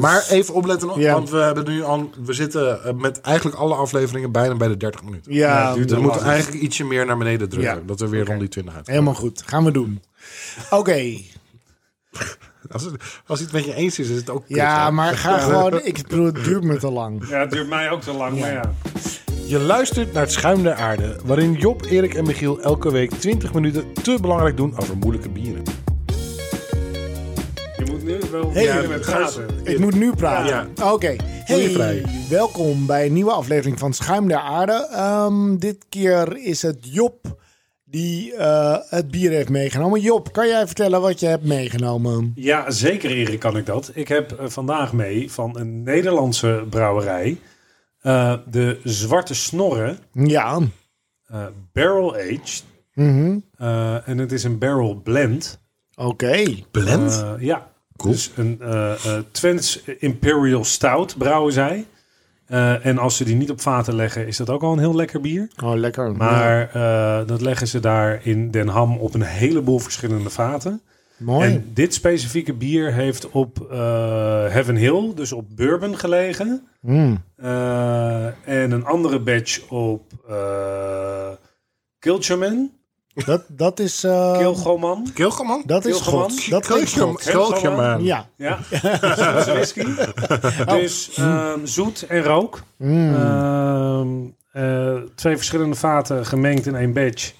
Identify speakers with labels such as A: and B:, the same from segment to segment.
A: Maar even opletten, nog,
B: Ja.
A: want we, hebben nu al, we zitten eh, met eigenlijk alle afleveringen bijna bij de 30 minuten.
B: Ja,
A: Dus we
B: dat
A: moeten
B: mag.
A: eigenlijk ietsje meer naar beneden drukken.
B: Ja.
A: Dat we weer rond die 20 uit.
B: Helemaal goed. Gaan we doen. Oké.
A: Als het, als het met je eens is, is het ook kut,
B: Ja,
A: hè?
B: maar ga gewoon. Ik bedoel, het duurt me te lang.
C: Ja, het duurt mij ook te lang, maar ja.
A: Je luistert naar het Schuim der Aarde, waarin Job, Erik en Michiel elke week 20 minuten te belangrijk doen over moeilijke bieren.
C: Je moet nu wel
B: Hey,
C: beginnen met
A: ga-
C: praten.
B: Ik moet nu praten. Oké.
A: je
B: Hey,
A: vrij.
B: welkom bij een nieuwe aflevering van Schuim der Aarde. Ehm, dit keer is het Job die eh, het bier heeft meegenomen. Job, kan jij vertellen wat je hebt meegenomen?
C: Ja, zeker Erik kan ik dat. Ik heb eh, vandaag mee van een Nederlandse brouwerij eh, de Zwarte Snorren
B: Ja.
C: eh, Barrel Aged.
B: Mhm.
C: Eh, en het is een barrel blend.
B: Oké.
A: Blend?
C: Eh, ja,
A: Cool.
C: dus een eh, eh, Twents Imperial Stout brouwen zij. Eh, en als ze die niet op vaten leggen, is dat ook al een heel lekker bier.
B: Oh, lekker. Ja.
C: Maar eh, dat leggen ze daar in Den Ham op een heleboel verschillende vaten.
B: Mooi.
C: En dit specifieke bier heeft op eh, Heaven Hill, dus op Bourbon gelegen.
B: Mm.
C: Eh, en een andere batch op eh Kilchaman,
B: Dat, dat is... eh,
C: Kilgoman.
A: Kilgeman?
B: dat is
C: Kilgeman?
B: goed. Dat klinkt
A: Kilgeman.
B: goed.
A: Kilgeman.
B: Ja.
C: Ja, Schotse whisky. Dus ehm, zoet en rook.
B: Oh. Mm.
C: Ehm, eh, twee verschillende vaten gemengd in één batch.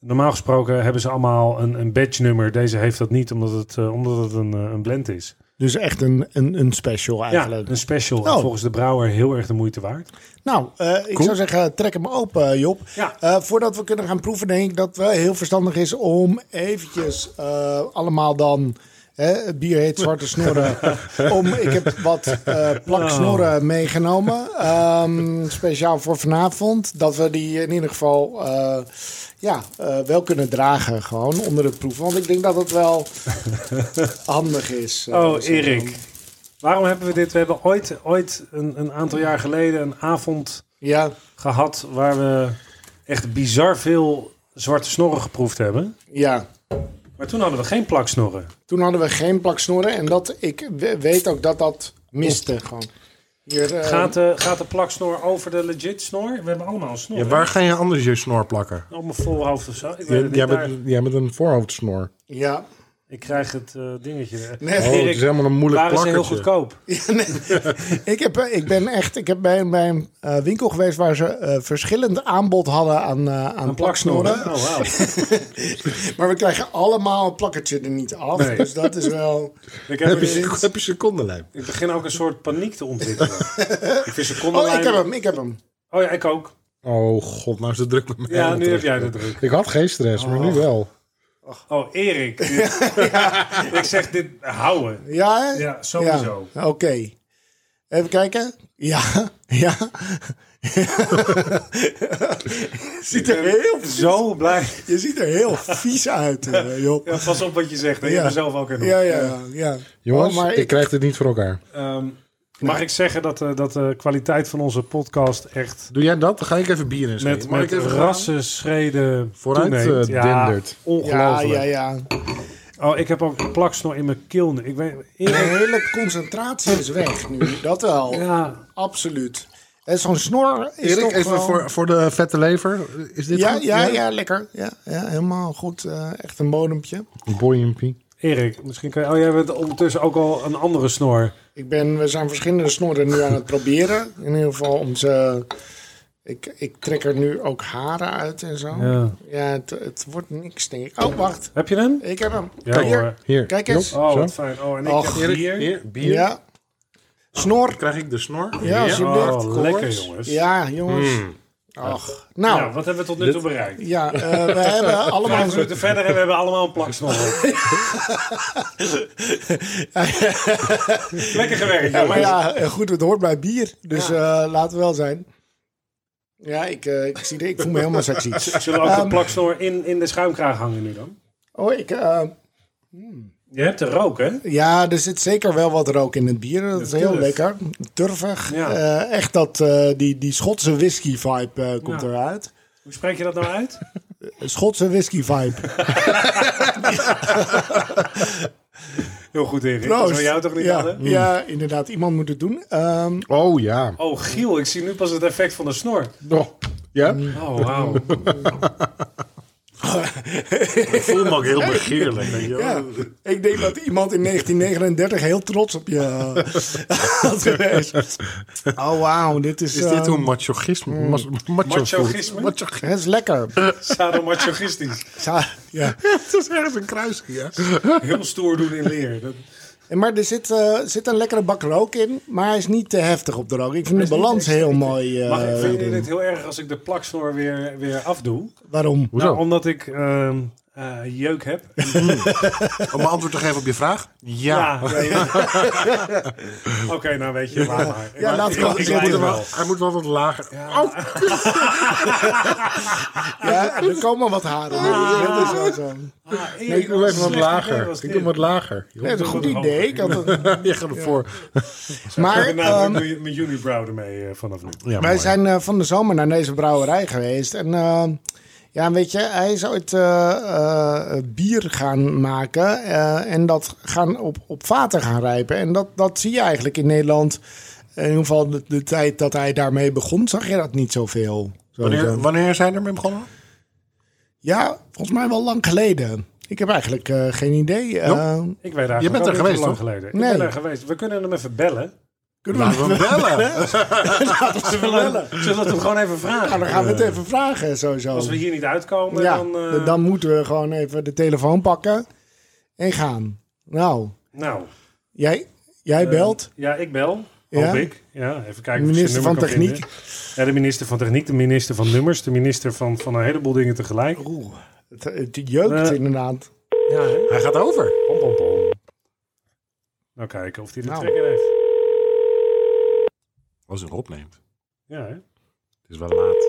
C: Normaal gesproken hebben ze allemaal een, een batchnummer. Deze heeft dat niet, omdat het, eh, omdat het een, eh, een blend is.
B: Dus echt een, een, een special eigenlijk.
C: Ja, een special.
B: Oh.
C: En volgens de brouwer heel erg de moeite waard.
B: Nou, eh, ik zou zeggen, trek hem open, Job.
C: Ja.
B: Eh, voordat we kunnen gaan proeven, denk ik dat het wel heel verstandig is om eventjes eh, allemaal dan. Hè, het bier heet Zwarte Snorren. om, ik heb wat eh
C: Oh.
B: plaksnorren meegenomen. ehm, speciaal voor vanavond. Dat we die in ieder geval eh, ja, eh, wel kunnen dragen, gewoon onder het proeven. Want ik denk dat het wel handig is. eh,
C: Oh,
B: zo.
C: Erik. Waarom hebben we dit? We hebben ooit, ooit een, een aantal jaar geleden een avond
B: Ja,
C: gehad... waar we echt bizar veel zwarte snorren geproefd hebben.
B: ja.
C: Maar toen hadden we geen plaksnorren.
B: Toen hadden we geen plaksnorren en dat, ik we- weet ook dat dat miste gewoon. Hier, eh,
C: Gaat de, gaat de plaksnor over de legit snor? We hebben allemaal een snor.
A: Ja,
C: hè?
A: waar ga je anders je snor plakken?
C: Op mijn voorhoofd of zo. Ik, weet
A: Jij,
C: het niet,
A: jij,
C: daar-
A: bent, jij bent een voorhoofdsnor.
B: Ja.
C: ik krijg het eh, dingetje.
B: Nee.
A: Oh, het is helemaal een moeilijk
C: waar is heel
A: plakkertje.
C: goedkoop?
B: Ja, nee. ik, heb, eh, ik ben echt ik heb bij, een- bij een eh, winkel geweest waar ze eh, verschillend aanbod hadden aan, eh, aan
C: Een plaksnor.
B: plaksnorren.
C: hè? Oh, wauw.
B: Maar we krijgen allemaal een plakkertje er niet af.
C: Nee.
B: Dus dat is wel.
C: Ik,
A: heb,
C: heb
A: je,
C: een-
A: heb je secondenlijm?
C: ik begin ook een soort paniek te ontwikkelen. ik vind seconden
B: Oh, ik heb hem, ik heb hem.
C: Oh ja, ik ook.
A: Oh god, nou is het druk met mij.
C: Ja, nu heb
A: terug.
C: jij de druk.
A: Ik had geen stress, maar nu wel.
C: Oh, Erik. dit- Ik zeg dit houden.
B: Ja, hè?
C: Ja, sowieso.
B: Ja, Oké. Even kijken. Ja, ja. ziet er heel,
C: Zo blij.
B: je ziet er heel vies uit, eh, Job.
C: Ja, pas op wat je zegt. hè. Je
B: Ja.
C: hebt mezelf ook in.
B: Ja, ja, ja.
A: Jongens,
B: Oh, maar
A: ik...
B: ik-
A: krijg dit niet voor elkaar.
C: Ehm, mag ik zeggen dat, eh, dat de kwaliteit van onze podcast echt
A: Doe jij dat? Dan ga ik even bier in
C: Met, met rassen, schreden,
A: Vooruit,
C: toeneemt.
A: eh,
C: Ja,
A: dendert.
B: Ja,
C: ongelooflijk.
B: ja, ja.
C: Oh, ik heb ook een plaksnor in mijn keel. nu. Ik weet,
B: De
C: Erik,
B: hele concentratie is weg nu. Dat wel.
C: ja,
B: Absoluut. En zo'n snor is
A: Erik,
B: toch
A: even
B: gewoon-
A: voor, voor de vette lever. Is dit
B: Ja,
A: goed?
B: ja, ja, lekker. Ja, ja, helemaal goed. Eh, echt een bodempje.
A: Boyimpie.
C: Erik, misschien kan je... Oh, jij bent ondertussen ook al een andere snor.
B: Ik ben, we zijn verschillende snorren nu aan het proberen. In ieder geval om ze... Ik, ik trek er nu ook haren uit en zo. Ja,
C: Ja.
B: het, het wordt niks, denk ik. Oh, wacht.
C: Heb je hem?
B: Ik heb hem.
C: Ja
B: Hier.
C: hoor.
A: Hier.
B: Kijk eens.
C: Oh,
A: Zo.
C: wat fijn. Oh, en ik
B: Och,
C: heb
A: Erik,
C: hier...
A: hier, bier.
B: Ja. Snor.
A: Krijg ik de snor?
B: Ja,
A: Hier.
B: zo-
C: Oh, lekker
A: koorts.
C: jongens. Hmm. Ja.
B: Ja, jongens. Ach. Nou,
C: wat hebben we tot nu
A: Dit-
C: toe bereikt?
B: Ja, eh, we hebben allemaal.
C: Vijf minuten verder en we hebben allemaal een plaksnor op. lekker gewerkt,
B: Ja, maar
C: jongens.
B: ja, eh, goed, het hoort bij bier. Dus eh, laten we wel zijn. Ja, ik, eh, ik, zie de, ik voel me helemaal sexy.
C: Zullen we ook de plaksnor in, in de schuimkraag hangen nu dan?
B: Oh, ik, eh,
C: Je hebt er rook, hè?
B: ja, er zit zeker wel wat rook in het bier. Dat is heel
C: Turf.
B: lekker. Turvig.
C: Ja.
B: Eh, echt dat, eh, die, die Schotse whisky vibe eh, komt
C: Ja.
B: eruit.
C: Hoe spreek je dat nou uit?
B: Schotse whisky vibe.
C: heel goed in. Dat
B: Proost.
C: is van jou toch niet
B: ja,
C: hadden?
B: ja, inderdaad. Iemand moet het doen. Ehm,
A: Oh ja.
C: Oh, Giel, ik zie nu pas het effect van de snor.
A: Oh, ja?
C: Oh, wauw.
D: Ik voel me ook heel begeerlijk. Weet je wel.
B: ja, ik denk dat iemand in 1939 heel trots op je eh, had geweest. Oh, wauw. Dit is...
A: Is dit
B: ehm,
A: hoe machisme? mas- macho
C: Machisme?
A: Macho
B: Het is lekker.
C: Sadomasochistisch.
B: Sa- ja.
A: Het is ergens een kruising, ja.
C: Heel stoer doen in leer. Dat
B: En Maar er zit, eh, zit een lekkere bak rook in, maar hij is niet te heftig op de rook. Ik vind de
C: is niet
B: balans
C: extra-
B: heel mooi. eh,
C: Mag ik vind jullie het heel erg als ik de plaksnor weer, weer afdoe?
B: Waarom?
A: Hoezo?
C: Nou, omdat ik ehm, eh, jeuk heb.
A: Om antwoord te geven op je vraag? Ja.
C: ja, ja. Oké, nou weet je, laat maar. Ik-
B: Ja, laat
C: ik-
B: maar.
C: ik- Oh, ik
B: Ik moet
A: Hij,
C: weet
B: er
C: het
A: moet
C: wel.
A: wel, hij moet wel wat lager. Oh,
B: Ja, er komen wat haren. Dat is wel zo.
C: Ah, Erik,
A: nee, ik doe
C: wat
A: even wat
C: een slecht idee
A: lager.
C: was
A: Ik doe
C: dit.
A: hem wat lager.
B: Ja,
A: joh.
B: dat is een goed idee. Ik had het-
A: Je gaat ervoor.
B: Maar
C: En nou,
B: ehm,
C: doe je mijn unibrow ermee eh, vanaf nu.
A: Ja,
B: wij
A: mooi.
B: zijn eh, van de zomer naar deze brouwerij geweest. En ehm, ja, weet je, hij is ooit eh, eh, bier gaan maken eh, en dat gaan op, op vaten gaan rijpen. En dat, dat zie je eigenlijk in Nederland. eh, In ieder geval de, de tijd dat hij daarmee begon, zag je dat niet zoveel. Sowieso.
A: Wanneer, wanneer zijn er mee begonnen?
B: Ja, volgens mij wel lang geleden. Ik heb eigenlijk eh, geen idee. Eh,
C: Ik weet eigenlijk
A: bent
C: ook
A: er
C: niet
A: geweest,
C: zo lang
A: toch?
C: geleden. Ik
B: Nee.
C: ben er geweest. We kunnen hem even bellen.
B: kunnen we
A: Laten we hem bellen.
C: Zullen we, zullen we hem gewoon even vragen?
B: Ja, dan gaan we het even vragen sowieso.
C: Eh, Als we hier niet uitkomen,
B: ja,
C: dan...
B: dan,
C: eh,
B: moeten we gewoon even de telefoon pakken en gaan. Nou,
C: Nou, Eh,
B: jij, jij belt.
C: ja, ik bel.
B: Ja.
C: Hoop ik. Ja, even kijken.
B: De
C: of ik
B: minister
C: zijn nummer
B: van
C: kan vinden. Ja, de minister van Techniek, de minister van Nummers, de minister van, van een heleboel dingen tegelijk.
B: Oeh, het, het jeukt
C: Eh.
B: inderdaad.
C: Ja, hè?
A: Hij gaat over.
C: Pom, pom, pom. Nou, kijken of hij de
B: Nou.
C: trekker heeft.
A: Als hij hem opneemt.
C: Ja, hè?
A: Het is wel laat.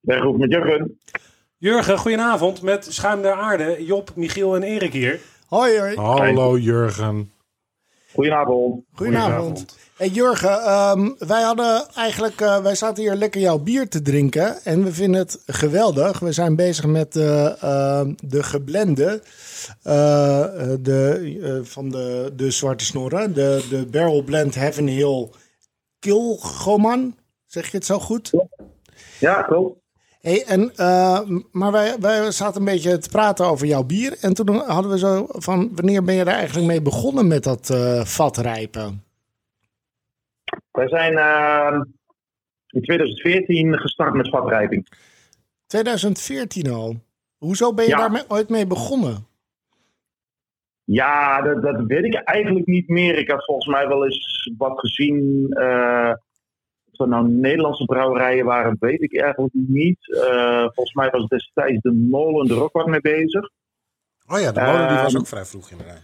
E: Berghoef met Jurgen.
C: Jurgen, goedenavond. Met Schuim der Aarde, Job, Michiel en Erik hier.
B: Hoi, hoi.
A: Oh, Hallo Jurgen.
E: Goedenavond.
B: Goedenavond. Hey Jurgen, ehm, wij hadden eigenlijk, eh, wij zaten hier lekker jouw bier te drinken en we vinden het geweldig. We zijn bezig met de, ehm, de geblende eh, eh, de, eh, van de, de zwarte snorren, de, de barrel blend Heaven Hill Kilgoman. Zeg je het zo goed?
E: Ja, klopt.
B: Hey, en, eh, maar wij, wij zaten een beetje te praten over jouw bier en toen hadden we zo van, wanneer ben je daar eigenlijk mee begonnen met dat eh vat rijpen?
E: Wij zijn eh, in 2014 gestart met vatrijping.
B: 2014 al. Hoezo ben je
E: Ja.
B: daar me- ooit mee begonnen?
E: Ja, dat, dat weet ik eigenlijk niet meer. Ik had volgens mij wel eens wat gezien. eh of dat nou Nederlandse brouwerijen waren, weet ik eigenlijk niet. Eh, volgens mij was destijds de Molen er ook wat mee bezig.
A: Oh ja, de molen die was
E: Ehm.
A: ook vrij vroeg inderdaad.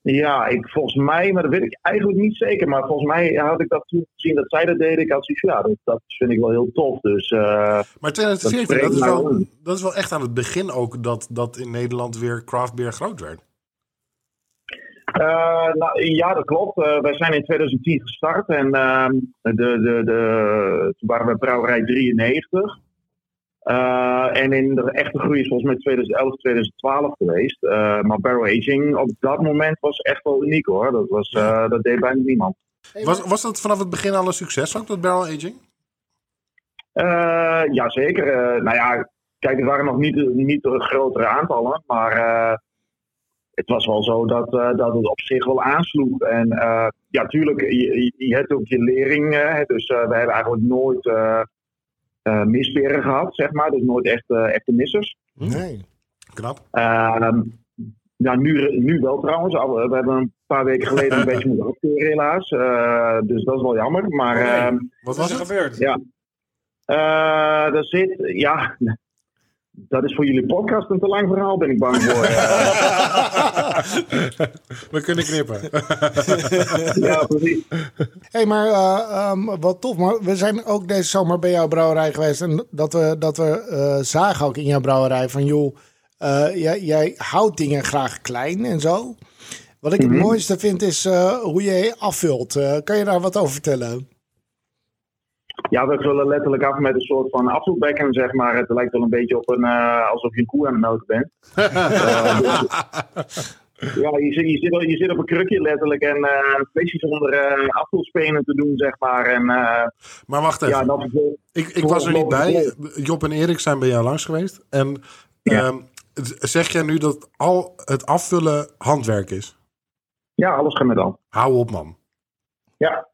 E: Ja, ik, volgens mij, maar dat weet ik eigenlijk niet zeker. Maar volgens mij had ik dat toen gezien dat zij dat deden. Ik had zoiets van, ja, dat, dat vind ik wel heel tof. Dus eh,
A: Maar
E: Dat
A: 2014,
E: spreekt
A: dat is,
E: mij
A: wel,
E: om.
A: dat is wel echt aan het begin ook dat, dat in Nederland weer craft beer groot werd.
E: Eh, nou, ja, dat klopt. Eh, wij zijn in 2010 gestart en ehm, de, de, de, toen waren we brouwerij 93. Eh, en in de echte groei is volgens mij 2011, 2012 geweest. Eh, maar barrel aging op dat moment was echt wel uniek hoor. Dat, was, eh, dat deed bijna niemand.
A: Was, was dat vanaf het begin al een succes ook, dat barrel aging?
E: Eh, ja, zeker. Eh, nou ja, kijk, het waren nog niet, niet de grotere aantallen, maar eh, het was wel zo dat, eh, dat het op zich wel aansloeg. En eh, ja, tuurlijk, je, je- je hebt ook je lering, eh, hè, dus eh, we hebben eigenlijk nooit eh eh, misperen gehad, zeg maar. Dus nooit echt, eh, echte missers.
B: Hm? Nee.
A: Knap.
E: Ehm, nou, nu, nu wel trouwens. Al- We hebben een paar weken geleden een beetje moeten opkeuren helaas. Eh, dus dat is wel jammer, maar...
C: Oh, nee.
E: ehm,
A: Wat
C: Wat is
A: was
C: er
A: het?
C: gebeurd?
E: Ja. eh daar zit, ja, dat is voor jullie podcast een te lang verhaal, ben ik bang voor. Eh,
A: We kunnen knippen.
E: ja, precies.
B: Hé, hey, maar eh, ehm, wat tof. Maar we zijn ook deze zomer bij jouw brouwerij geweest. En dat we, dat we eh, zagen ook in jouw brouwerij van... joh, eh, jij, jij houdt dingen graag klein en zo. Wat ik het mooiste vind is eh, hoe je je afvult. Eh, kan je daar wat over vertellen?
E: Ja, we vullen letterlijk af met een soort van afvoerbekken, zeg maar. Het lijkt wel een beetje op een, eh, alsof je een koe aan het melken bent. Eh, dus- ja, je zit, je, zit, al- je zit op een krukje letterlijk en eh feestjes onder eh afvoerspenen te doen, zeg maar. En eh,
A: Maar wacht even.
E: ja, dat is wel-
A: Ik, ik was er niet bij. Job en Erik zijn bij jou langs geweest. En
E: Ja.
A: ehm, z- zeg jij nu dat al het afvullen handwerk is?
E: ja, alles gaat met al.
A: Hou op, man.
E: Ja,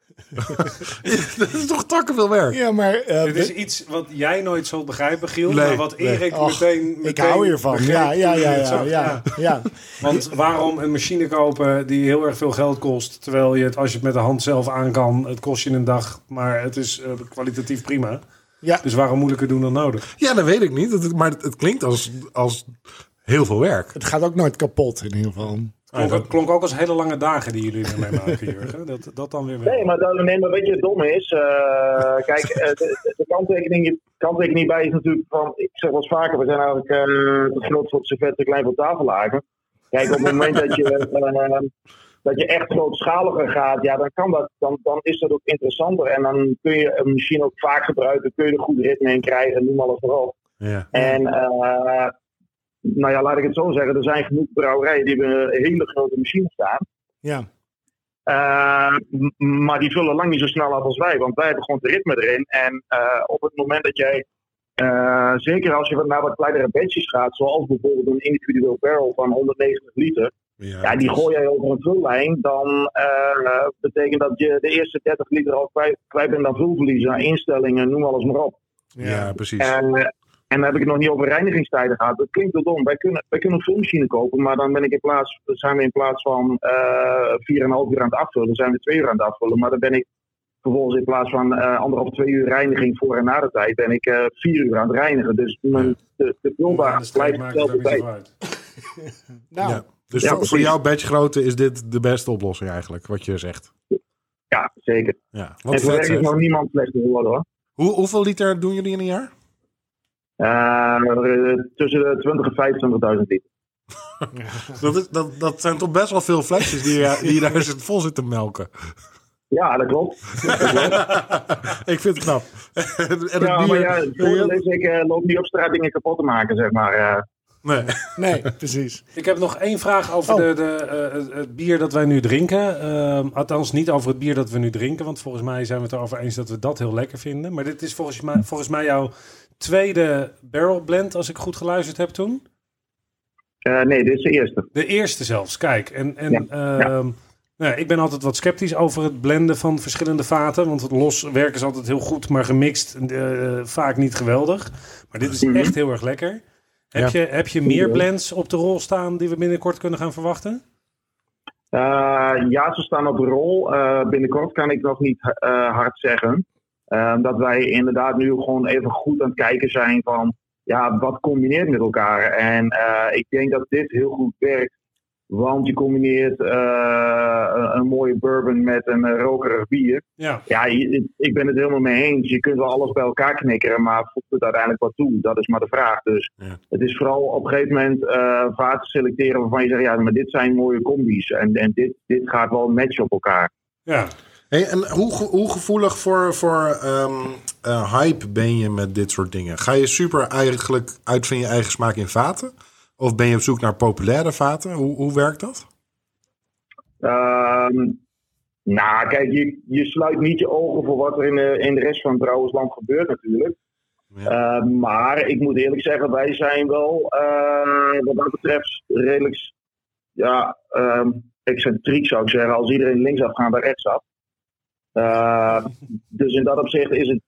A: dat is toch takken veel werk?
B: Ja, maar eh,
C: Dit is iets wat jij nooit zal begrijpen, Giel.
A: Nee,
C: maar wat
A: nee.
C: Erik
B: Och,
C: meteen, meteen...
B: ik hou hiervan.
C: begreep
B: Ja, ja,
C: toen
B: ja,
C: hij het
B: ja,
C: zag.
B: ja, ja.
C: Want waarom een machine kopen die heel erg veel geld kost... terwijl je het, als je het met de hand zelf aan kan... het kost je een dag, maar het is eh, kwalitatief prima.
B: Ja.
C: Dus waarom moeilijker doen dan nodig?
A: Ja, dat weet ik niet. Het- maar het, het klinkt als, als heel veel werk.
B: Het gaat ook nooit kapot in ieder geval.
C: Klonk, klonk ook als hele lange dagen die jullie ermee maken, Jurgen. Dat, dat dan weer
E: nee,
C: wel.
E: maar, dat, nee, maar weet je, het dom is. eh, kijk, eh, de, de kanttekening, de kanttekening bij is natuurlijk van. Ik zeg wel eens vaker, we zijn eigenlijk eh, te groot voor het servet, te klein voor het tafellaken. Kijk, op het moment dat je, eh, dat je echt grootschaliger gaat, ja, dan, kan dat, dan, dan is dat ook interessanter. En dan kun je hem misschien ook vaak gebruiken, kun je er goed ritme in krijgen, noem alles maar op.
A: Ja.
E: En eh, nou ja, laat ik het zo zeggen, er zijn genoeg brouwerijen die hebben hele grote machines staan.
B: Ja.
E: Eh, m- maar die vullen lang niet zo snel af als wij, want wij hebben gewoon het ritme erin. En eh, op het moment dat jij, eh, zeker als je wat- naar wat kleinere batches gaat, zoals bijvoorbeeld een individueel barrel van 190 liter, ja, die gooi jij over een vullijn, dan eh, betekent dat je de eerste 30 liter al kwijt, kwijt bent aan vulverlies, aan instellingen, noem alles maar op.
A: Ja, precies.
E: En, eh, en dan heb ik het nog niet over reinigingstijden gehad. Dat klinkt wel dom. Wij kunnen, wij kunnen een vulmachine kopen, maar dan ben ik in plaats, zijn we in plaats van eh 4,5 uur aan het afvullen, zijn we 2 uur aan het afvullen. Maar dan ben ik vervolgens in plaats van eh anderhalf, twee uur reiniging voor en na de tijd, ben ik eh 4 uur aan het reinigen. Dus mijn, de, de vulbaar
C: de streep
E: blijft
C: maakt het ook
E: hetzelfde
C: niet
E: tijd.
C: zo uit.
B: Nou,
A: Ja. Dus
E: Ja,
A: voor, voor
E: precies.
A: jouw badgegrootte is dit de beste oplossing eigenlijk, wat je zegt.
E: Ja, zeker.
A: Ja,
E: en
A: wat
E: voor
A: vet,
E: is
A: zeg.
E: nog niemand slecht geworden hoor.
A: Hoe, hoeveel liter doen jullie in een jaar?
E: Eh, tussen de 20.000 en 25.000 liter.
A: Dat, is, dat, dat zijn toch best wel veel flesjes die, je- die je daar zit- vol zit te melken.
E: Ja, dat klopt.
A: ik vind het knap. en het
E: Ja, maar
A: bier-
E: ja, het voordeel is, ik eh, loop niet op straat dingen kapot te maken, zeg maar. eh.
A: Nee.
B: nee, precies.
C: Ik heb nog één vraag over
B: Oh.
C: de, de, eh, het, het bier dat wij nu drinken. Ehm, althans, niet over het bier dat we nu drinken. Want volgens mij zijn we het erover eens dat we dat heel lekker vinden. Maar dit is volgens mij, volgens mij jouw tweede barrel blend, als ik goed geluisterd heb toen.
E: Eh, nee, dit is de eerste.
C: De eerste zelfs, kijk. En, en
E: Ja,
C: ehm, nou ja, ik ben altijd wat sceptisch over het blenden van verschillende vaten. Want het los werken is altijd heel goed, maar gemixt eh, vaak niet geweldig. Maar dit is
E: Mhm.
C: echt heel erg lekker. Heb, je, heb je meer blends op de rol staan die we binnenkort kunnen gaan verwachten?
E: Eh, ja, ze staan op de rol. Eh, binnenkort kan ik nog niet eh, hard zeggen. Eh, dat wij inderdaad nu gewoon even goed aan het kijken zijn van... Ja, wat combineert met elkaar? En eh, ik denk dat dit heel goed werkt. Want je combineert eh, een, een mooie bourbon met een eh, rokerig bier.
C: Ja.
E: Ja, je- ik ben het helemaal mee eens. Je kunt wel alles bij elkaar knikkeren, maar voegt het uiteindelijk wat toe? Dat is maar de vraag. Dus
A: Ja.
E: het is vooral op een gegeven moment eh vaten selecteren waarvan je zegt, ja, maar dit zijn mooie combi's. En, en dit, dit gaat wel matchen op elkaar.
C: Ja,
A: Hey, en hoe, ge- hoe gevoelig voor, voor ehm, eh, hype ben je met dit soort dingen? Ga je super eigenlijk uit van je eigen smaak in vaten? Of ben je op zoek naar populaire vaten? Hoe, hoe werkt dat?
E: Ehm, nou, kijk, je, je sluit niet je ogen voor wat er in de, in de rest van het brouwersland gebeurt natuurlijk.
A: Ja.
E: Ehm, maar ik moet eerlijk zeggen, wij zijn wel eh, wat dat betreft redelijk ja, ehm, excentriek zou ik zeggen. Als iedereen linksaf gaat, dan rechtsaf. Eh, dus in dat opzicht is het,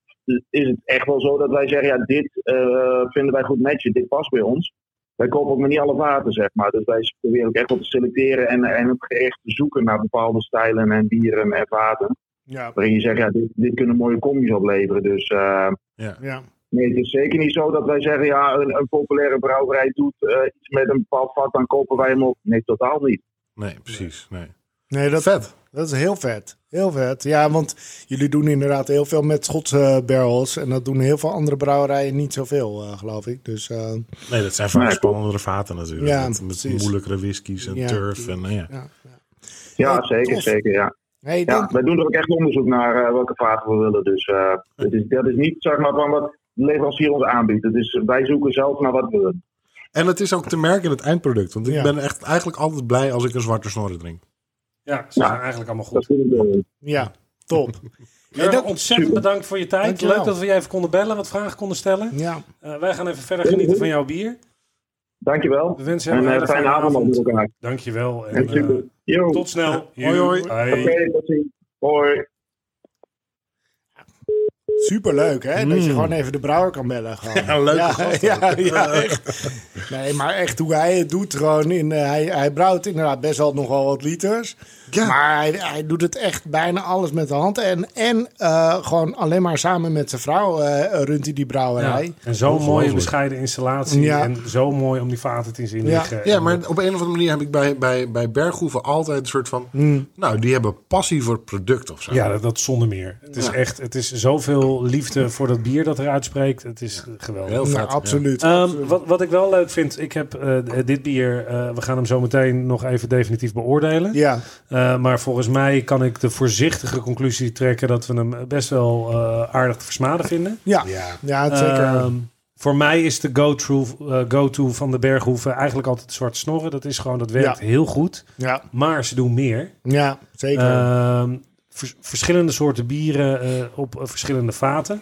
E: is het echt wel zo dat wij zeggen, ja, dit eh, vinden wij goed matchen, dit past bij ons wij kopen ook maar niet alle vaten, zeg maar. Dus wij proberen ook echt wat te selecteren en, en ook echt te zoeken naar bepaalde stijlen en bieren en vaten.
B: Ja,
E: Waarin je zegt, ja, dit, dit kunnen mooie combi's opleveren. Dus eh,
B: ja.
E: nee, het is zeker niet zo dat wij zeggen, ja, een, een populaire brouwerij doet eh, iets met een bepaald vat, dan kopen wij hem op. Nee, totaal niet.
A: Nee, precies. Nee.
B: Nee, dat,
A: Vet.
B: dat is heel vet. Heel vet. Ja, want jullie doen inderdaad heel veel met Schotse eh, barrels. En dat doen heel veel andere brouwerijen niet zoveel, eh, geloof ik. Dus eh,
A: Nee, dat zijn vaak
E: Nee.
A: spannendere vaten natuurlijk.
B: Ja,
A: met met
B: precies.
A: moeilijkere whiskies en
B: Ja.
A: turf. En, nou ja.
B: ja, ja.
E: Ja,
B: Ja,
E: zeker,
B: tof.
E: zeker, ja.
B: Nee, ik
E: Ja,
B: denk,
E: wij doen er ook echt onderzoek naar eh, welke vaten we willen. Dus eh, het is, dat is niet zeg maar, van wat de leverancier ons aanbiedt. Het is, wij zoeken zelf naar wat we willen.
A: En het is ook te merken in het eindproduct. Want ik
B: Ja.
A: ben echt eigenlijk altijd blij als ik een zwarte snorren drink.
C: Ja, ze zijn
E: Ja.
C: eigenlijk allemaal
E: Nou, Dat
C: goed.
E: vind ik wel.
B: ja, top.
C: Jurgen,
B: dat-
C: ontzettend bedankt voor je tijd.
B: Dankjewel.
C: Leuk dat we je even konden bellen, wat vragen konden stellen.
B: Ja.
C: Eh, wij gaan even verder genieten van jouw bier.
E: Dankjewel.
C: We wensen
E: En
C: jou een
E: eh,
C: hele
E: fijne avond nog met elkaar.
C: Dankjewel. En,
E: En super.
C: eh,
E: Yo.
C: tot snel.
A: Hoi, hoi.
E: Oké, tot ziens. Hoi.
B: Superleuk, hè? Dat je gewoon even de brouwer kan bellen. Gewoon.
A: Mm. Ja, leuke
B: ja,
A: gast
B: Ja, ja, echt. Nee, maar echt hoe hij het doet gewoon. In, eh, hij, hij brouwt inderdaad best wel nogal wat liters.
A: Ja.
B: Maar hij, hij doet het echt bijna alles met de hand. En, en eh, gewoon alleen maar samen met zijn vrouw eh, runt hij die brouwerij.
C: En zo'n mooie
A: Ongelooflijk.
C: bescheiden installatie.
B: Ja.
C: En zo mooi om die vaten te zien
B: Ja.
C: liggen.
A: Ja, maar op een of andere manier heb ik bij, bij, bij Berghoeven altijd een soort van... Nou, die hebben passie voor het product of zo.
C: Ja, dat, dat zonder meer. Het is echt, het is zoveel liefde voor dat bier dat eruit spreekt. Het is geweldig.
A: Heel
B: Nou,
A: vet. Eh.
B: absoluut.
C: Ehm, wat, wat ik wel leuk vind, ik heb eh, d- dit bier, eh, we gaan hem zo meteen nog even definitief beoordelen.
B: Ja,
C: Eh, maar volgens mij kan ik de voorzichtige conclusie trekken dat we hem best wel eh, aardig te versmaden vinden.
B: ja. ja. zeker.
A: Eh.
C: Ehm, voor mij is de go-to eh, go-to van de Berghoeven eigenlijk altijd zwart snorren. Dat is gewoon, dat werkt
B: Ja.
C: heel goed.
B: ja.
C: Maar ze doen meer.
B: ja, zeker.
A: Eh.
C: Ehm, vers- verschillende soorten bieren eh, op eh, verschillende vaten.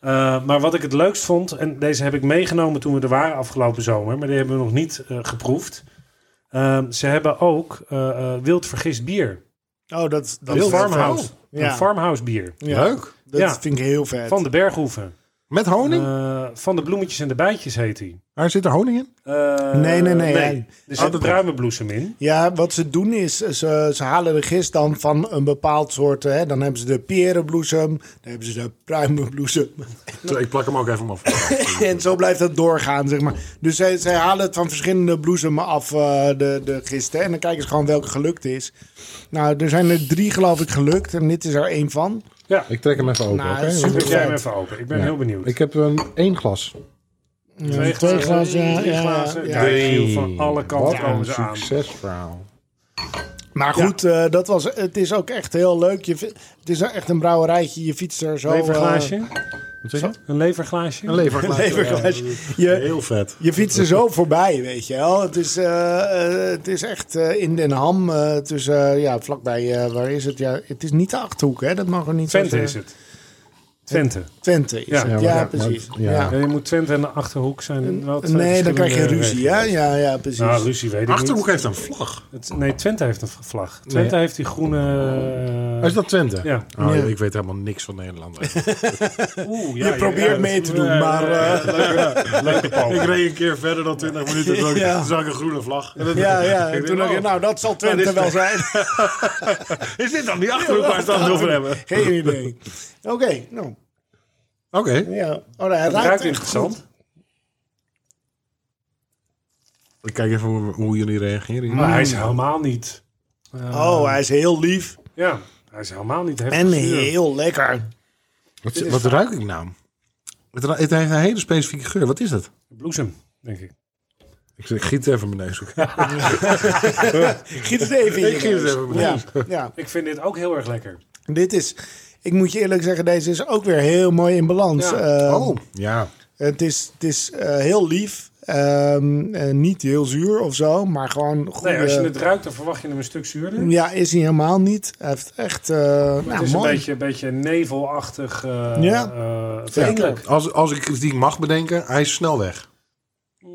C: Eh, maar wat ik het leukst vond, en deze heb ik meegenomen toen we er waren afgelopen zomer, maar die hebben we nog niet eh, geproefd. Ehm, ze hebben ook eh, eh, wild vergist bier.
B: oh, dat, dat
C: Een
B: is
C: farmhouse.
B: Ja.
C: Een farmhouse bier.
B: Ja.
A: Leuk.
B: Dat
C: Ja.
B: vind ik heel vet.
C: Van de Berghoeven.
A: Met honing?
C: Eh, van de bloemetjes en de bijtjes heet hij. Eh,
A: Waar zit er honing in?
B: Nee, nee, nee, hij-
C: Er zit pruimenbloesem in.
B: Ja, wat ze doen is, ze, ze halen de gist dan van een bepaald soort. Hè, dan hebben ze de perenbloesem, dan hebben ze de pruimenbloesem.
A: Ik plak hem ook even af.
B: en zo blijft dat doorgaan, zeg maar. Dus zij, zij halen het van verschillende bloesemen af, eh, de, de gisten. En dan kijken ze gewoon welke gelukt is. Nou, er zijn er drie, geloof ik, gelukt. En dit is er één van.
C: Ja,
A: Ik trek hem even open,
B: Nou,
A: oké?
B: super.
C: doe jij hem even open. Ik ben heel benieuwd.
A: Ik heb een één glas.
C: Twee glazen,
B: glazen,
C: drie
B: ja,
C: glazen.
B: ja.
C: Ja, ik viel van alle kanten
A: Wat
C: komen
A: een
C: ze aan.
A: succesverhaal.
B: Maar goed, eh, dat was, het is ook echt heel leuk. Je, fi- het is echt een brouwerijtje. Je fietst er zo... eh,
C: Leverglaasje?
A: Wat zeg je?
C: Een leverglaasje?
A: Een leverglas.
B: leverglaasje.
A: Ja,
B: eh, Je,
A: heel vet.
B: Je fietst er zo voorbij, weet je wel. Het is, eh, eh, het is echt eh, in Den Ham. eh, het is eh, ja, vlakbij, eh, waar is het? Ja, het is niet de Achterhoek, hè? Dat mag er niet zo
C: Twente is
B: zeggen.
C: het. Twente.
B: Twente is
C: Ja.
B: het,
C: Ja,
A: maar-
B: ja,
A: maar-
B: precies.
A: ja.
B: ja.
C: Ja, je moet Twente en de Achterhoek zijn. Wel twee
B: Nee, dan
C: verschillende
B: krijg je ruzie,
C: regio's.
B: hè? Ja, ja, precies.
C: eh, Nou, ruzie weet ik
A: Achterhoek
C: niet.
A: heeft een vlag.
C: Het- nee, Twente heeft een vlag. Twente
A: Nee.
C: heeft die groene... eh,
A: Is dat Twente?
C: Ja.
A: Oh,
B: Ja.
A: Ik weet helemaal niks van Nederland.
C: Oeh,
B: je probeert mee te doen, maar... eh,
C: Leuke
D: Ik
C: poging.
D: reed een keer verder dan 20 minuten. Toen
B: Ja.
D: zag ik een groene vlag. En dat-
B: ja, ja. En
D: Ik
B: toen
D: denk,
B: dacht je,
D: oh,
B: nou, dat zal Twente
D: dit-
B: wel zijn.
D: Is dit dan die achterhoek waar ze het over hebben?
B: Geen idee. Oké, nou.
A: Oké.
B: Ja. Oh, nee, hij
C: Het ruikt
B: ruikt echt
C: interessant.
A: Ik kijk even hoe, hoe jullie reageren. hier.
C: Maar hij is helemaal niet...
B: goed. Oh, hij is heel lief.
C: Ja, hij is helemaal niet heftig.
B: En
C: zuur.
B: heel lekker.
A: Wat, wat ruik ik nou? Het, ra- het heeft een hele specifieke geur. Wat is dat?
C: Bloesem, denk ik.
A: Ik zeg, giet even mijn neus. ook.
B: Giet het even in je
A: Ik giet het
B: neus.
A: even in mijn
B: ja,
A: neus.
B: ja,
C: Ik vind dit ook heel erg lekker.
B: Dit is, ik moet je eerlijk zeggen, deze is ook weer heel mooi in balans.
C: Ja.
B: Ehm,
A: Oh, ja.
B: Het is, het is eh, heel lief, Ehm, eh, niet heel zuur of zo, maar gewoon goed.
C: Nee, als je het ruikt, dan verwacht je hem een stuk zuurder.
B: Ja, is hij helemaal niet. Hij heeft echt, eh
C: Maar
B: nou,
C: het is
B: mooi.
C: een beetje, een beetje nevelachtig, eh
B: Ja.
C: eh, vriendelijk. Mm, Ja.
A: Als, als ik die mag bedenken, hij is snel weg.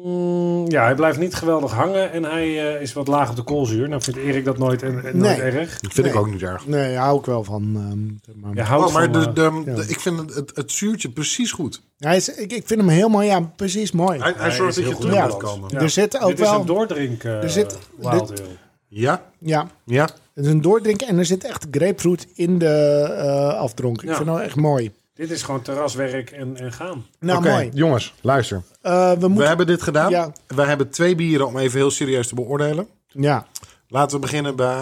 C: Mm, hij blijft niet geweldig hangen en hij eh, is wat laag op de koolzuur. Nou vindt Erik dat nooit, en, en
B: Nee.
C: nooit erg.
A: Dat vind ik
B: Nee.
A: ook niet erg.
B: Nee, daar hou ik wel van. ehm, zeg maar.
C: Je houdt
A: Oh, maar
C: van,
A: de,
C: eh,
A: de,
B: ja.
A: de- ik vind het, het, het zuurtje precies goed.
B: Hij is, ik, ik vind hem heel mooi, ja, precies mooi.
A: Hij,
C: hij
A: hij zorgt dat
C: is
A: je
C: heel
A: terug
C: goed
A: moet
C: in balans.
A: komen.
C: Ja.
B: Er zit ook
C: dit is
B: wel,
C: een doordrink eh
B: Er zit-
C: Wild
B: dit-
C: Ale.
A: Ja,
B: ja,
A: ja.
B: het is een doordrinken en er zit echt grapefruit in de eh afdronk. Ik
C: Ja.
B: vind hem echt mooi.
C: Dit is gewoon terraswerk en, en gaan.
B: Nou,
A: Oké,
B: mooi.
A: jongens, luister.
B: Eh, we
A: We
B: moeten,
A: hebben dit gedaan.
B: Ja.
A: We hebben twee bieren om even heel serieus te beoordelen.
B: ja.
A: Laten we beginnen bij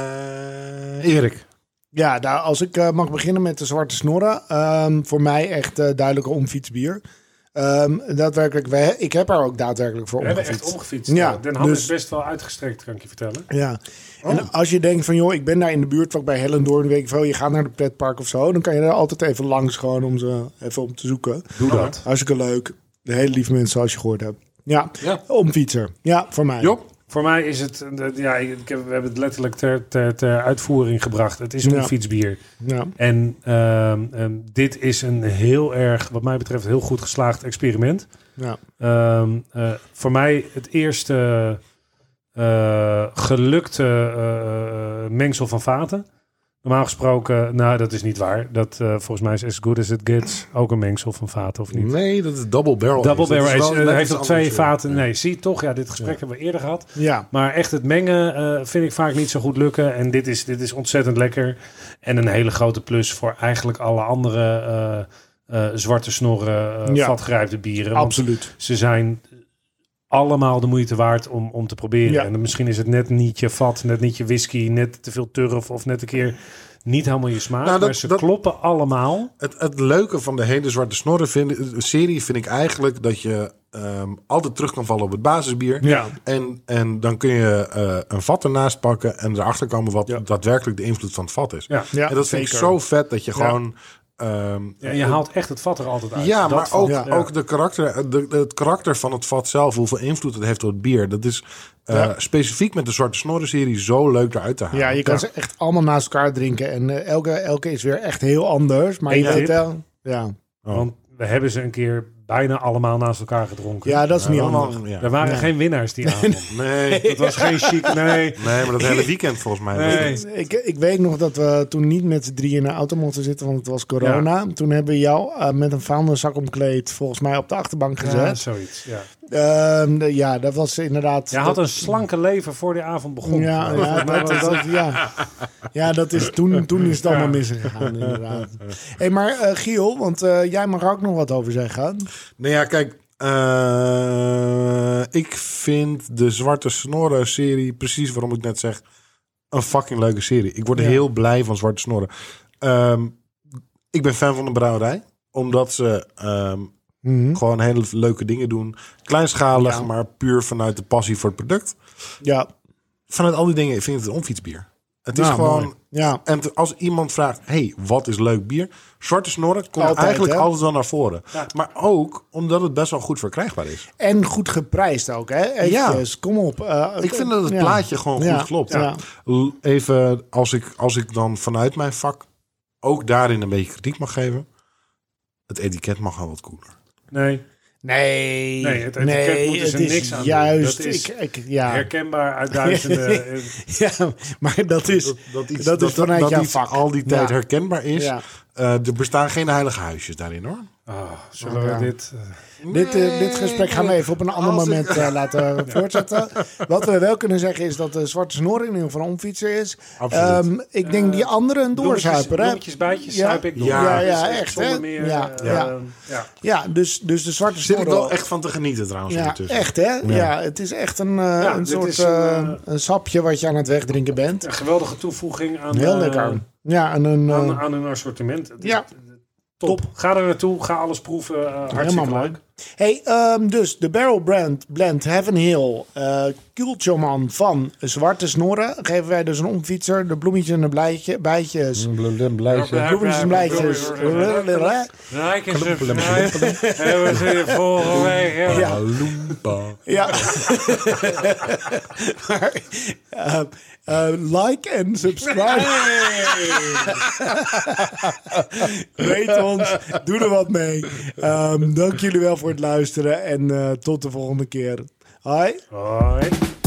A: Erik.
B: Ja, nou, als ik eh, mag beginnen met de Zwarte Snorren. ehm, voor mij echt eh duidelijke omfietsbier. Ehm, daadwerkelijk, wij, ik heb er ook daadwerkelijk voor
C: We hebben echt
B: omgefietst.
C: omgefietst.
B: Ja,
C: Den Ham
B: dus-
C: is best wel uitgestrekt, kan ik je vertellen.
B: Ja.
A: Oh.
B: En als je denkt van, joh, ik ben daar in de buurt, vlak bij Hellendoorn, weet ik veel, je gaat naar de pretpark of zo, dan kan je daar altijd even langs gewoon om ze even om te zoeken.
A: Doe dat.
B: Hartstikke leuk. De hele lieve mensen, zoals je gehoord hebt. Ja,
C: Ja.
B: omfietser. Ja, voor mij.
A: Job?
C: Voor mij is het, eh, ja, ik heb, we hebben het letterlijk ter, ter, ter uitvoering gebracht. Het is
B: Ja.
C: een fietsbier.
B: Ja.
C: En ehm, ehm, dit is een heel erg, wat mij betreft, heel goed geslaagd experiment.
B: Ja.
C: Ehm, eh, voor mij het eerste eh, gelukte eh, mengsel van vaten. Normaal gesproken, nou dat is niet waar. Dat, eh, volgens mij is As Good As It Gets ook een mengsel van vaten, of niet?
A: Nee, dat is double barrel.
C: Double
A: Dat is
C: Barrel
A: wel
C: Age, eh,
A: net
C: heeft
A: iets
C: nog twee
A: anders,
C: vaten. Nee, zie toch, ja, dit gesprek hebben we eerder gehad.
B: ja.
C: Maar echt het mengen eh, vind ik vaak niet zo goed lukken. En dit is, dit is ontzettend lekker. En een hele grote plus voor eigenlijk alle andere eh, eh, zwarte snorren, eh
B: Ja.
C: vatgerijpte bieren. Want
B: Absoluut.
C: ze zijn allemaal de moeite waard om, om te proberen.
B: Ja.
C: En dan misschien is het net niet je vat, net niet je whisky, net te veel turf of net een keer niet helemaal je smaak.
A: Nou, dat-
C: maar ze
A: dat-
C: kloppen allemaal.
A: Het, het leuke van de hele Zwarte Snorren vind- serie vind ik eigenlijk dat je ehm, altijd terug kan vallen op het basisbier.
C: Ja.
A: En, en dan kun je eh, een vat ernaast pakken en erachter komen wat daadwerkelijk de invloed van het vat is.
C: Ja.
B: Ja,
A: en dat vind ik
B: zeker.
A: zo vet dat je gewoon. ehm,
C: Ja, en je haalt echt het vat er altijd uit.
A: ja,
C: Dat
A: maar
C: vond-
A: ook,
B: ja.
A: ook de karakter, de, de- het karakter van het vat zelf, hoeveel invloed het heeft op het bier. Dat is eh, specifiek met de Zwarte Snorren serie zo leuk eruit te halen.
B: Ja, je kan ze Nou, echt allemaal naast elkaar drinken. En eh, elke, elke is weer echt heel anders. Maar
C: Eén
B: je
C: tip.
B: weet wel... Ja,
C: Want we hebben ze een keer bijna allemaal naast elkaar gedronken.
B: ja dat is niet handig.
A: Allemaal- ja.
C: Er waren
B: Nee.
C: geen winnaars die avond.
A: Nee,
C: Het was geen chic, nee.
A: nee, maar dat hele weekend volgens mij. was
C: Nee.
A: het.
B: Ik, ik weet nog dat we toen niet met z'n drieën in de auto mochten zitten, want het was corona. Toen hebben we jou eh, met een vuilniszak omkleed volgens mij op de achterbank
C: Ja,
B: gezet.
C: zoiets. Ja.
B: Ja, ja dat was inderdaad...
C: Jij had
B: dat-
C: een slanke lever voor die avond begon.
B: ja,
C: Nee,
B: ja, dat, dat- ja. ja, dat is toen, toen is het allemaal misgegaan, inderdaad. hey, maar eh, Giel, want eh, jij mag er ook nog wat over zeggen.
A: Nou ja, kijk. eh, ik vind de Zwarte Snorren serie, precies waarom ik net zeg, een fucking leuke serie. Ik word
B: Ja.
A: heel blij van Zwarte Snorren. Ehm, ik ben fan van de brouwerij, omdat ze ehm,
B: Mhm.
A: gewoon hele leuke dingen doen. Kleinschalig,
B: Ja.
A: maar puur vanuit de passie voor het product.
B: Ja,
A: Vanuit al die dingen vind ik het een onfietsbier. Het is
B: Nou,
A: gewoon.
B: mooi. Ja,
A: En te- als iemand vraagt, hey, wat is leuk bier? Zwarte Snorren komt
B: Altijd,
A: eigenlijk
B: hè?
A: altijd wel naar voren. Maar ook omdat het best wel goed verkrijgbaar is.
B: en goed geprijsd ook, hè? Eventjes, kom op. eh,
A: Ik vind dat het
B: ja.
A: plaatje gewoon
B: Ja,
A: goed klopt.
B: ja.
A: L- Even als ik, als ik dan vanuit mijn vak ook daarin een beetje kritiek mag geven. Het etiket mag wel wat cooler.
C: nee.
B: Nee,
C: Nee, het etiket moeten ze
B: het is
C: niks aan doen.
B: juist,
C: Dat is
B: ik, ik, ja.
C: herkenbaar uit duizenden. eh,
B: ja, maar dat is, dat,
A: iets,
B: is vanuit jouw
A: iets
B: vak.
A: al die tijd
B: Ja.
A: herkenbaar is.
B: Ja.
A: Eh, er bestaan geen heilige huisjes daarin hoor.
C: ah, zullen we
B: Ja.
C: dit... eh,
B: Dit, eh, dit gesprek gaan we even op een ander
A: Als ik-
B: moment eh, laten voortzetten. Wat we wel kunnen zeggen is dat de Zwarte Snor in ieder geval een omfietser is.
A: Absoluut.
B: Ehm, ik denk
C: Eh,
B: die andere een doorzuiper. hè?
C: Bloemetjes, bijtjes,
B: Ja.
C: zuip ik door.
A: Ja,
C: Dus
B: ja, echt, hè?
C: Zonder meer...
B: Ja,
C: eh,
B: ja.
C: eh, ja.
B: Ja, dus, dus de Zwarte
A: Zit ik
B: Snor.
A: wel echt van te genieten trouwens.
B: Ja,
A: ondertussen.
B: echt hè? Ja. het is echt een, eh, een
C: dit
B: soort
C: is een,
B: eh,
C: eh,
B: een sapje wat je aan het wegdrinken bent.
C: Een geweldige toevoeging aan...
B: Heel
C: eh,
B: lekker. Ja, en een... eh,
C: Aan, aan hun assortiment. Het is
B: Ja.
C: Top. Ga er naartoe. Ga alles proeven. eh, hartstikke
B: mooi.
C: leuk.
B: Hey, ehm, dus de Barrel Brand, Blend Heaven Hill, eh Kultjoman van Zwarte Snorren. Geven wij dus een omfietser, de bloemetjes en de blijtje, bijtjes. Bloemetjes en blijtjes.
C: Rijken ze Hebben ze je vorige week...
B: Ja.
A: Loempa.
B: Ja. Maar, eh, eh, like en subscribe. Weet ons. Doe er wat mee. Ehm, dank jullie wel voor het luisteren. En eh, tot de volgende keer. Hoi.
C: Hoi.